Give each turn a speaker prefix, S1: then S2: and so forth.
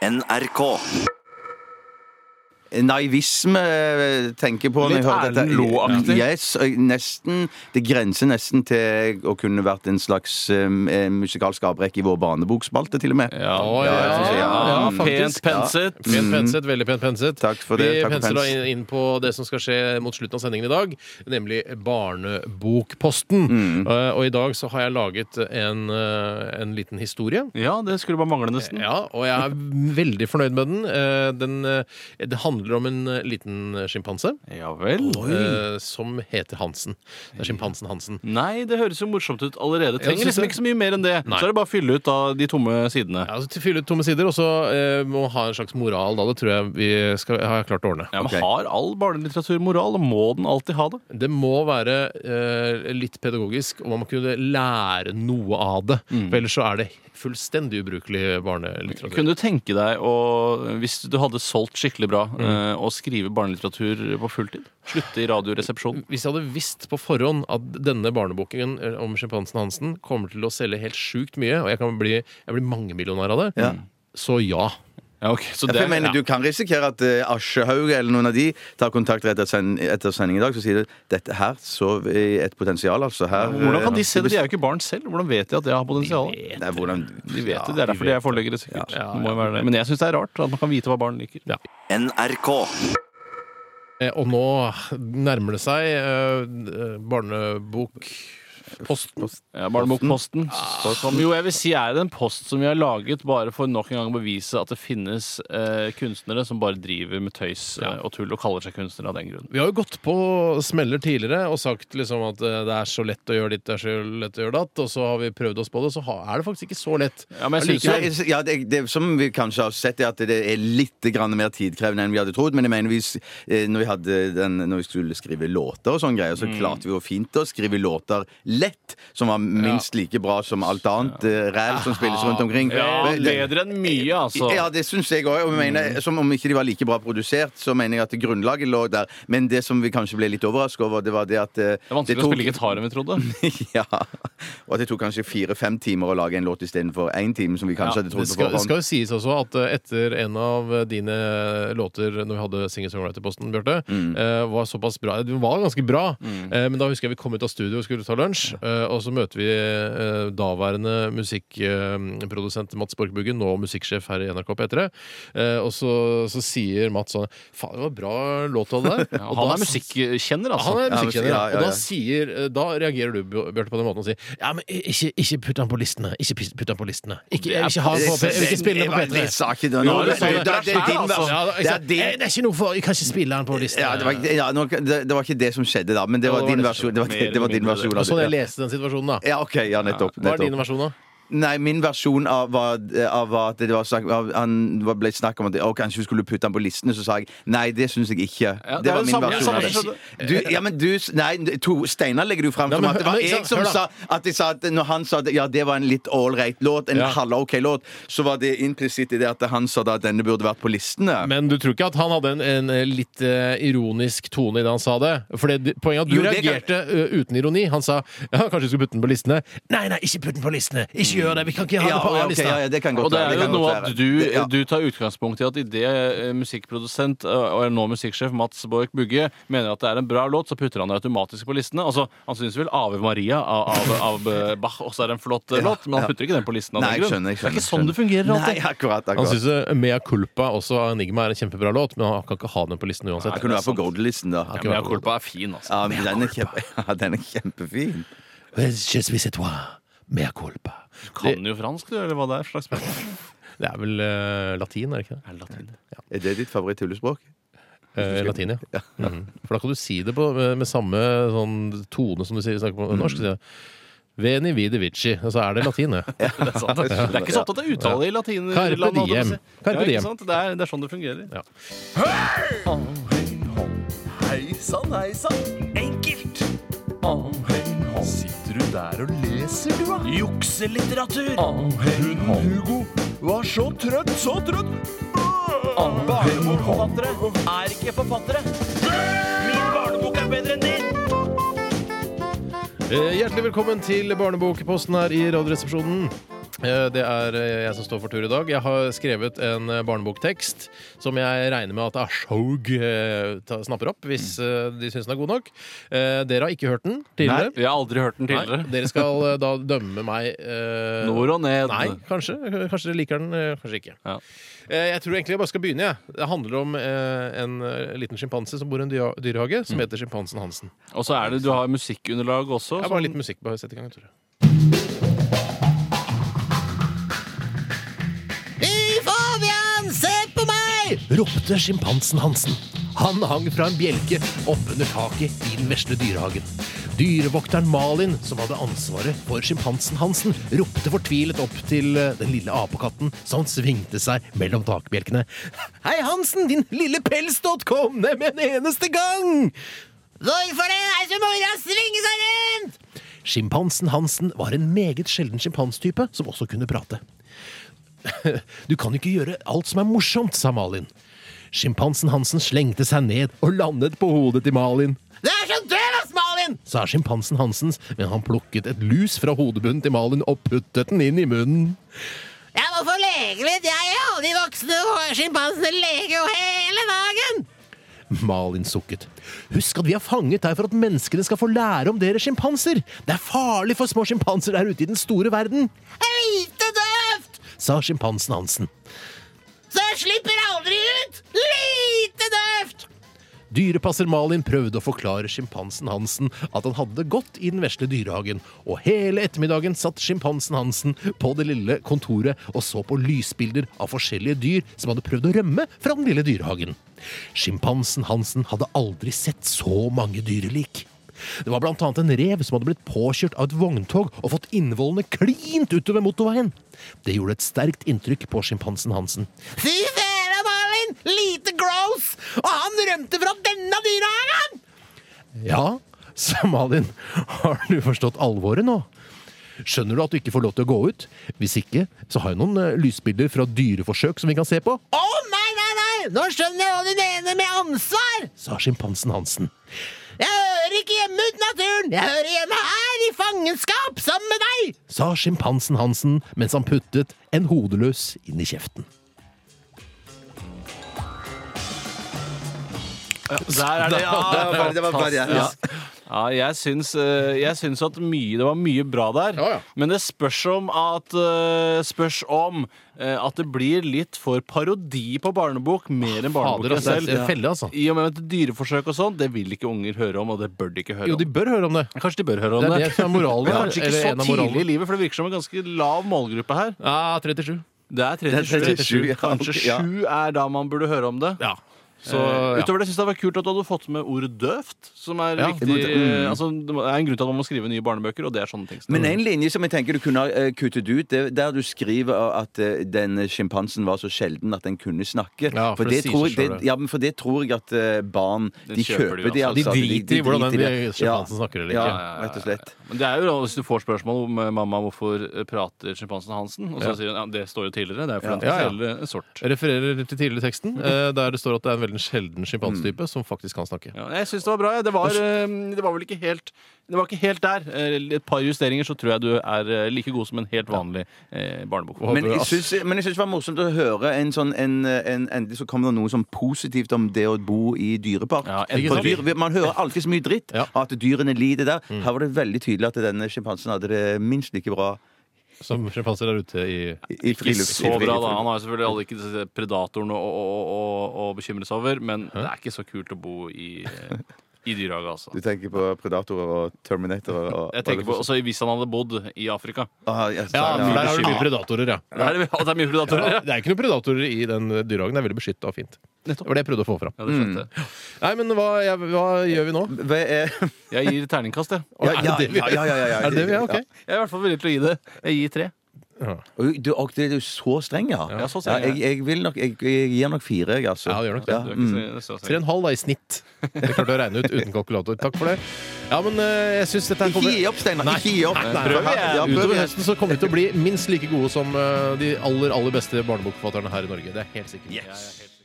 S1: NRK.
S2: naivisme eh, tenker på når
S3: Litt
S2: jeg hører dette.
S3: Erlend Loe-aktig.
S2: Yes, og nesten. Det grenser nesten til å kunne vært en slags eh, eh, musikalsk avbrekk i vår barnebokspalte, til og med.
S4: Ja,
S3: Å, ja,
S2: jeg synes jeg- ja,
S4: pent
S3: faktisk.
S4: penset.
S3: Pent penset, veldig pent penset.
S2: Mm. Takk for
S3: Vi
S2: det, takk for
S3: penser da
S2: pens.
S3: inn, inn på det som skal skje mot slutten av sendingen i dag, nemlig Barnebokposten.
S2: Mm.
S3: Eh, og i dag så har jeg laget en, eh, en liten historie.
S4: Ja, det skulle bare mangle, nesten.
S3: Ja, og jeg er veldig fornøyd med den. Eh, den eh, det handler om en eh, liten sjimpanse
S4: Ja vel.
S3: eh, som heter Hansen. Det er sjimpansen Hansen.
S4: Nei, det høres jo morsomt ut allerede.
S3: Ja,
S4: Trenger
S3: synes
S4: liksom
S3: jeg.
S4: ikke så mye mer enn det.
S3: Nei.
S4: Så er det bare å fylle ut da, de tomme sidene.
S3: Ja, altså, til Fylle ut tomme sider, og så eh, må ha en slags moral. Da. Det tror jeg vi skal, har jeg klart å ordne.
S4: Ja, men
S2: Ok.
S4: Har all barnelitteratur moral? og Må den alltid ha det?
S3: Det må være eh, litt pedagogisk, og man må kunne lære noe av det. For ellers så er det fullstendig ubrukelig barnelitteratur.
S4: Kunne du tenke deg å, hvis du hadde solgt skikkelig bra, eh, å skrive barnelitteratur på fulltid? Slutte i Radioresepsjonen?
S3: Hvis jeg hadde visst på forhånd at denne barneboken eh, om sjimpansen Hansen kommer til å selge helt sjukt mye, og jeg kan bli, jeg blir mangemillionær av det,
S2: Ja.
S3: så ja.
S4: Ja, ok. Så
S2: Ja, for
S4: det,
S2: jeg mener,
S4: ja.
S2: Du kan risikere at eh, Aschehoug eller noen av de tar kontakt rett etter, send etter sending i dag og sier de, dette her så vi et potensial. altså her
S4: Hvordan kan
S2: eh,
S4: de se det? De er jo ikke barn selv. Hvordan vet de at jeg har potensial?
S2: Nei, hvordan,
S4: De vet det. Det er derfor de er forleggere, sikkert.
S3: Ja,
S4: Det må jo være det. Men jeg syns det er rart at man kan vite hva barn liker.
S3: Ja.
S1: NRK.
S3: Eh, Og nå nærmer det seg eh, barnebokposten.
S4: Ja, Barnebokposten. Som Ah. jo jeg vil si er en post som vi har laget bare for nok en gang å bevise at det finnes eh, kunstnere som bare driver med tøys eh, og tull og kaller seg kunstnere av den grunn.
S3: Vi har jo gått på smeller tidligere og sagt liksom at eh, det er så lett å gjøre ditt, det er så lett å gjøre datt, og så har vi prøvd oss på det, og så ha- er det faktisk ikke så lett.
S4: Ja, men jeg synes
S2: Så,
S4: jo-
S2: jeg- ja, det, det som vi kanskje har sett, er at det er litt grann mer tidkrevende enn vi hadde trodd. Men jeg mener, vi, s- eh, når, vi hadde den, når vi skulle skrive låter og sånne greier,
S4: Mm.
S2: så klarte vi jo fint å skrive låter lett, som var minst like bra som alt annet eh, ræl som spilles rundt omkring.
S4: Ja, Mm.
S2: Men det-
S4: bedre enn mye, altså.
S2: Ja, det syns jeg òg. Og jeg mener, som om ikke de var like bra produsert, så mener jeg at grunnlaget lå der. Men det som vi kanskje ble litt overraska over, det var det at eh,
S4: Det er vanskelig å spille gitar enn vi trodde.
S2: ja. Og at det tok kanskje fire-fem timer å lage en låt istedenfor én time, som vi kanskje
S4: Ja,
S2: hadde
S3: Det
S2: trodd på
S3: skal, det
S2: forhånd.
S3: skal jo sies også at eh, etter en av eh, dine låter når vi hadde Singer-songwriter-posten, Bjarte,
S4: Mm.
S3: eh, var såpass bra Den var ganske bra, eh, men da husker jeg vi kom ut av studio og skulle ta lunsj, eh, og så møter vi eh, daværende musikkprodusent Mats Borchbuggen, nå musikksjef her i NRK P3, eh, og så, så sier Mats sånn Faen, det var bra låt du hadde der.
S4: Ja,
S3: Og
S4: han
S3: da-
S4: er musikkjenner,
S3: Ja, Han
S4: altså.
S3: er
S2: Ja,
S3: musikkjenner,
S2: ja, ja,
S3: og da,
S2: ja.
S3: sier, eh, da reagerer du, Bjarte, på den måten og sier Ja, men ikke, ikke putt han på listene. Ikke pis- putt han på listene. Ikke, jeg vil ikke ha han på P- Jeg vil ikke spille han på
S2: Det
S3: P3.
S2: sa ikke du.
S4: Jo,
S2: Nå,
S4: det
S2: det,
S4: sa
S2: det,
S4: jeg.
S2: det er din
S4: Det er
S2: vers.
S3: Ja, da,
S2: Det
S3: ikke
S2: er
S3: sant?
S2: din
S3: Eh, det er ikke noe for Jeg kan ikke spille han på listene.
S2: ja, det, var, ikke- ja, nå, det, det var ikke det som skjedde da, men det
S3: Ja,
S2: var din versjon. Det var,
S4: Mer
S2: det var din
S4: eller mindre
S2: versjon
S3: Og
S2: av
S3: sånn jeg
S2: det.
S3: leste den situasjonen, da.
S2: Ja, OK. Ja, nettopp.
S3: Hva er din
S2: nettopp.
S3: versjon, da?
S2: Nei, min versjon av, var, av at det var snakk, av, han var- ble snakk om at å, kanskje vi skulle putte han på listene, så sa jeg nei, det syns jeg ikke.
S4: Ja, det
S2: det
S4: er
S2: var
S4: det
S2: min
S4: samme-
S2: versjon
S4: samme
S2: av
S4: som
S2: det. Du, ja, men du, nei, to, Steinar legger du fram
S3: Nei,
S2: som
S3: men
S2: at det var
S3: hør-
S2: jeg
S3: hør da,
S2: som
S3: hør da.
S2: sa at, jeg sa at når han sa at ja, det var en litt ålreit låt, en
S3: Ja.
S2: halv-OK låt, så var det implisitt i det at han sa da at denne burde vært på listene.
S3: Men du tror ikke at han hadde en, en eh, litt eh, ironisk tone i det han sa det? For det, poenget er at du
S2: Jo, det kan-
S3: reagerte ø, uten ironi. Han sa ja, kanskje vi skulle putte den på listene. Nei, nei, ikke putt den på listene! Ikke gjør det! Vi kan ikke ha
S2: ja,
S3: det på
S2: ja, ok,
S3: A-lista!
S2: ja, ja, det kan
S4: Og
S2: godt
S4: det
S2: være.
S4: er
S2: det
S4: jo
S2: kan
S4: noe
S2: godt
S4: at
S2: være.
S4: du,
S2: Det- ja.
S4: du tar utgangspunkt i at idet eh, musikkprodusent eh, og nå musikksjef Mats Borch Bugge mener at det er en bra låt, så putter han det automatisk på listene. Altså, Han syns vel Ave Maria av, av, av eh, Bach også er en flott eh, låt, men han putter ikke den på listen av
S2: Nei,
S4: den
S2: jeg
S4: grunn.
S2: skjønner, jeg
S4: det er ikke
S2: skjønner,
S4: sånn det fungerer
S2: Nei,
S4: alltid.
S2: akkurat.
S3: Han
S2: akkurat.
S3: syns eh, Mea Culpa også av Enigma er en kjempebra låt, men han kan ikke ha den på listen uansett.
S2: Jeg kunne vært på Gold-listen, da.
S3: Ja,
S4: Men Mea Culpa er fin, altså.
S2: Ja, men den er, kjempe, ja, den er kjempefin.
S3: Je suis et toi, mea culpa.
S4: Kan jo fransk, du, eller hva det er? Slags språk?
S3: Det er vel eh, latin, er det ikke det?
S4: Er det latin?
S2: Er det ditt favoritt-tullespråk?
S3: Eh, latin, ja. Mhm. For da kan du si det på, med, med samme sånn tone som du sier, snakker på norsk. sier jeg. Veni vide vici. Og så er det latin, det.
S4: Det er sant. Det er ikke så ofte at det er uttale i latin.
S3: Carpe
S4: landet, holdt jeg på å
S3: diem.
S4: si.
S3: Carpe
S4: Ja, ikke
S3: diem.
S4: sant? Det er, det er sånn det fungerer.
S3: Ja.
S5: Hei sann, hei sann. Enkelt. Sitter du der og leser, du, da? Jukselitteratur. Hun Hugo var så trøtt, så trøtt. Barnebokforfattere er ikke forfattere. Min barnebok er bedre enn din.
S3: Eh, hjertelig velkommen til Barnebokposten her i Radioresepsjonen. Eh, Det er eh, jeg som står for tur i dag. Jeg har skrevet en eh, barneboktekst som jeg regner med at Ashog eh, ta- snapper opp, hvis
S4: Mm.
S3: eh, de syns den er god nok. Eh, Dere har ikke hørt den tidligere.
S4: Jeg har aldri hørt den tidligere.
S3: Nei, Dere skal eh, da dømme meg eh,
S4: Nord og ned.
S3: Nei, kanskje. Kanskje dere liker den, eh, kanskje ikke.
S4: Ja.
S3: Eh, Jeg tror egentlig jeg bare skal begynne. Jeg. Det handler om eh, en eh, liten sjimpanse som bor i en dyra-
S4: Mm.
S3: dyrehage, som heter Sjimpansen Hansen.
S4: Og så er det, du har musikkunderlag også. sånn-
S3: Det er
S4: som-
S3: bare litt musikk. Bare sett i gang, Tore. Fabian, se på meg! ropte sjimpansen Hansen. Han hang fra en bjelke oppunder taket i den vesle dyrehagen. Dyrevokteren Malin, som hadde ansvaret for sjimpansen Hansen, ropte fortvilet opp til eh, den lille apekatten som svingte seg mellom takbjelkene. Hei, Hansen, din lille pelsdott, kom ned med en eneste gang! Hvorfor det? Det er så moro å svinge seg rundt! Sjimpansen Hansen var en meget sjelden sjimpanstype som også kunne prate. Du kan ikke gjøre alt som er morsomt, sa Malin. Sjimpansen Hansen slengte seg ned og landet på hodet til Malin. Det er så døvt, Malin! sa sjimpansen Hansens, men han plukket et lus fra hodebunnen til Malin og puttet den inn i munnen. Jeg må få lege litt, jeg og de voksne sjimpansene leker jo hele dagen! Malin sukket. Husk at vi har fanget deg for at menneskene skal få lære om dere sjimpanser. Det er farlig for små sjimpanser der ute i den store verden. Lite døvt! sa sjimpansen Hansen. Så jeg slipper aldri ut! Lite døvt! Dyrepasser Malin prøvde å forklare sjimpansen Hansen at han hadde det godt i den vesle dyrehagen, og hele ettermiddagen satt sjimpansen Hansen på det lille kontoret og så på lysbilder av forskjellige dyr som hadde prøvd å rømme fra den lille dyrehagen. Sjimpansen Hansen hadde aldri sett så mange dyrelik. Det var blant annet en rev som hadde blitt påkjørt av et vogntog og fått innvollene klint utover motorveien. Det gjorde et sterkt inntrykk på sjimpansen Hansen. Fy fela, Malin! Lite gross! Og han rømte fra denne dyrehagen! Ja, sa Malin. Har du forstått alvoret nå? Skjønner du at du ikke får lov til å gå ut? Hvis ikke, så har jeg noen eh, lysbilder fra dyreforsøk som vi kan se på. Å, nei, nei, nei! Nå skjønner jeg hva du mener med ansvar! sa sjimpansen Hansen. Jeg hører ikke hjemme uten naturen! Jeg hører hjemme her, i fangenskap, sammen med deg! sa sjimpansen Hansen mens han puttet en hodeløs inn i kjeften.
S4: Der er det,
S2: Det
S4: ja!
S2: var bare- det var bare-
S4: Fantastisk. Ja, jeg syns, eh, jeg syns at mye, det var mye bra der.
S3: Ja, ja.
S4: Men det spørs om at eh, Spørs om eh, at det blir litt for parodi på barnebok mer enn barnebok
S3: Fader, altså, det er en felle, altså.
S4: I og med at dyreforsøk og sånn, det vil ikke unger høre om, og det bør de ikke høre
S3: Jo, de
S4: om.
S3: bør høre om det.
S4: Kanskje de bør høre om
S3: Det
S4: det.
S3: er det som er moralen
S4: Men
S3: her.
S4: kanskje
S3: eller
S4: ikke
S3: en
S4: så
S3: av
S4: tidlig i
S3: moralene.
S4: livet, for det virker som en ganske lav målgruppe her.
S3: Ja, 37.
S4: Det er
S2: Det er
S4: 37.
S2: 37, ja.
S4: Kanskje
S2: Ja.
S4: 7 er da man burde høre om det.
S3: Ja. Så,
S4: Eh,
S3: ja.
S4: Utover det syns jeg det var kult at du hadde fått med ordet døvt. Som er
S3: Ja.
S4: viktig altså, Det er en grunn til at man må skrive nye barnebøker, og det er sånne ting. som-
S2: Men en linje som jeg tenker du kunne ha eh, kuttet ut, det er der du skriver at eh, den sjimpansen var så sjelden at den kunne snakke.
S3: Ja, for det sier
S2: tror,
S3: seg
S2: jeg-
S3: selv, det.
S2: ja, men for det tror jeg at eh, barn
S4: Den
S2: De
S4: kjøper
S2: kjøper
S4: de,
S2: de,
S4: altså.
S2: altså.
S3: De
S2: at
S3: driter i hvordan
S2: driter
S3: den
S2: det.
S3: sjimpansen
S2: Ja.
S3: snakker eller
S2: Ja,
S3: ikke.
S2: rett og slett.
S4: Men det er jo da, Hvis du får spørsmål om eh, mamma, hvorfor eh, prater sjimpansen Hansen? Og så sier hun ja, det står jo tidligere. Det er fordi
S3: Ja.
S4: den ja,
S3: Ja, ja.
S4: sort.
S3: Jeg refererer til tidligere teksten, eh, der det står at det er en veldig sjelden sjimpansetype som faktisk kan snakke.
S4: Ja, jeg syns det var bra. Ja. Det, var, eh, det var vel ikke helt Det var ikke helt der. Eh, Et par justeringer, så tror jeg du er eh, like god som en helt vanlig eh, barnebok.
S3: Hva-
S2: Men jeg,
S3: Ass-
S2: syns, men jeg syns det var morsomt å høre en sånn en, en, Endelig så kom det noe sånn positivt om det å bo i dyrepark.
S4: Ja,
S2: For
S4: ikke sant?
S2: dyr, man hører alltid så mye dritt.
S3: Ja. Mm.
S2: At dyrene lider der. Her var det veldig tydelig at denne sjimpansen hadde det minst like bra
S3: Som sjimpanser der ute i
S2: i
S4: Ikke
S2: frilufts...
S4: så bra, da. Han har jo selvfølgelig alle ikke disse predatorene å, å, å, å bekymre seg over, men det er ikke så kult å bo i, eh, i dyrehage, altså.
S2: Du tenker på predatorer og terminator og
S4: Jeg tenker på, også Hvis han hadde bodd i Afrika.
S2: Ah, ja, så-
S3: Ja, for der har du mye
S4: bekymring.
S3: predatorer, ja.
S4: Det er, og det er mye predatorer.
S3: Det er ikke noen predatorer i den dyrehagen. Det er veldig beskytta og fint. Det var det jeg prøvde å få fram.
S4: Ja, det skjønte jeg.
S3: Nei, men hva, jeg, hva gjør vi nå?
S2: Hva er
S4: Jeg gir terningkast, jeg.
S2: Ja,
S3: Er
S2: ja,
S3: det det vi-
S2: ja, ja, ja, ja,
S3: Er det det vi er? Ok.
S4: Jeg er i hvert fall villig til å gi det. Jeg gir tre.
S2: Oi, Du, og det er jo så streng, ja.
S4: Ja, så streng,
S2: jeg, jeg, vil nok, jeg, jeg gir nok fire, jeg, altså.
S3: Ja, det gjør nok det.
S4: Du er ikke så- så
S3: Tre
S4: streng.
S3: og en halv da, i snitt. Det klarte jeg å regne ut uten kalkulator. Takk for det. Ja, men eh, jeg syns dette her
S2: Ikke
S3: kommer
S2: gi opp, Steinar. Ikke gi opp.
S3: prøv
S2: igjen. Ja, prøv
S3: Utover
S2: igjen.
S3: høsten så kommer vi til å bli minst like gode som eh, de aller, aller beste barnebokforfatterne her i Norge. Det er jeg helt sikkert.
S4: Jeg er helt-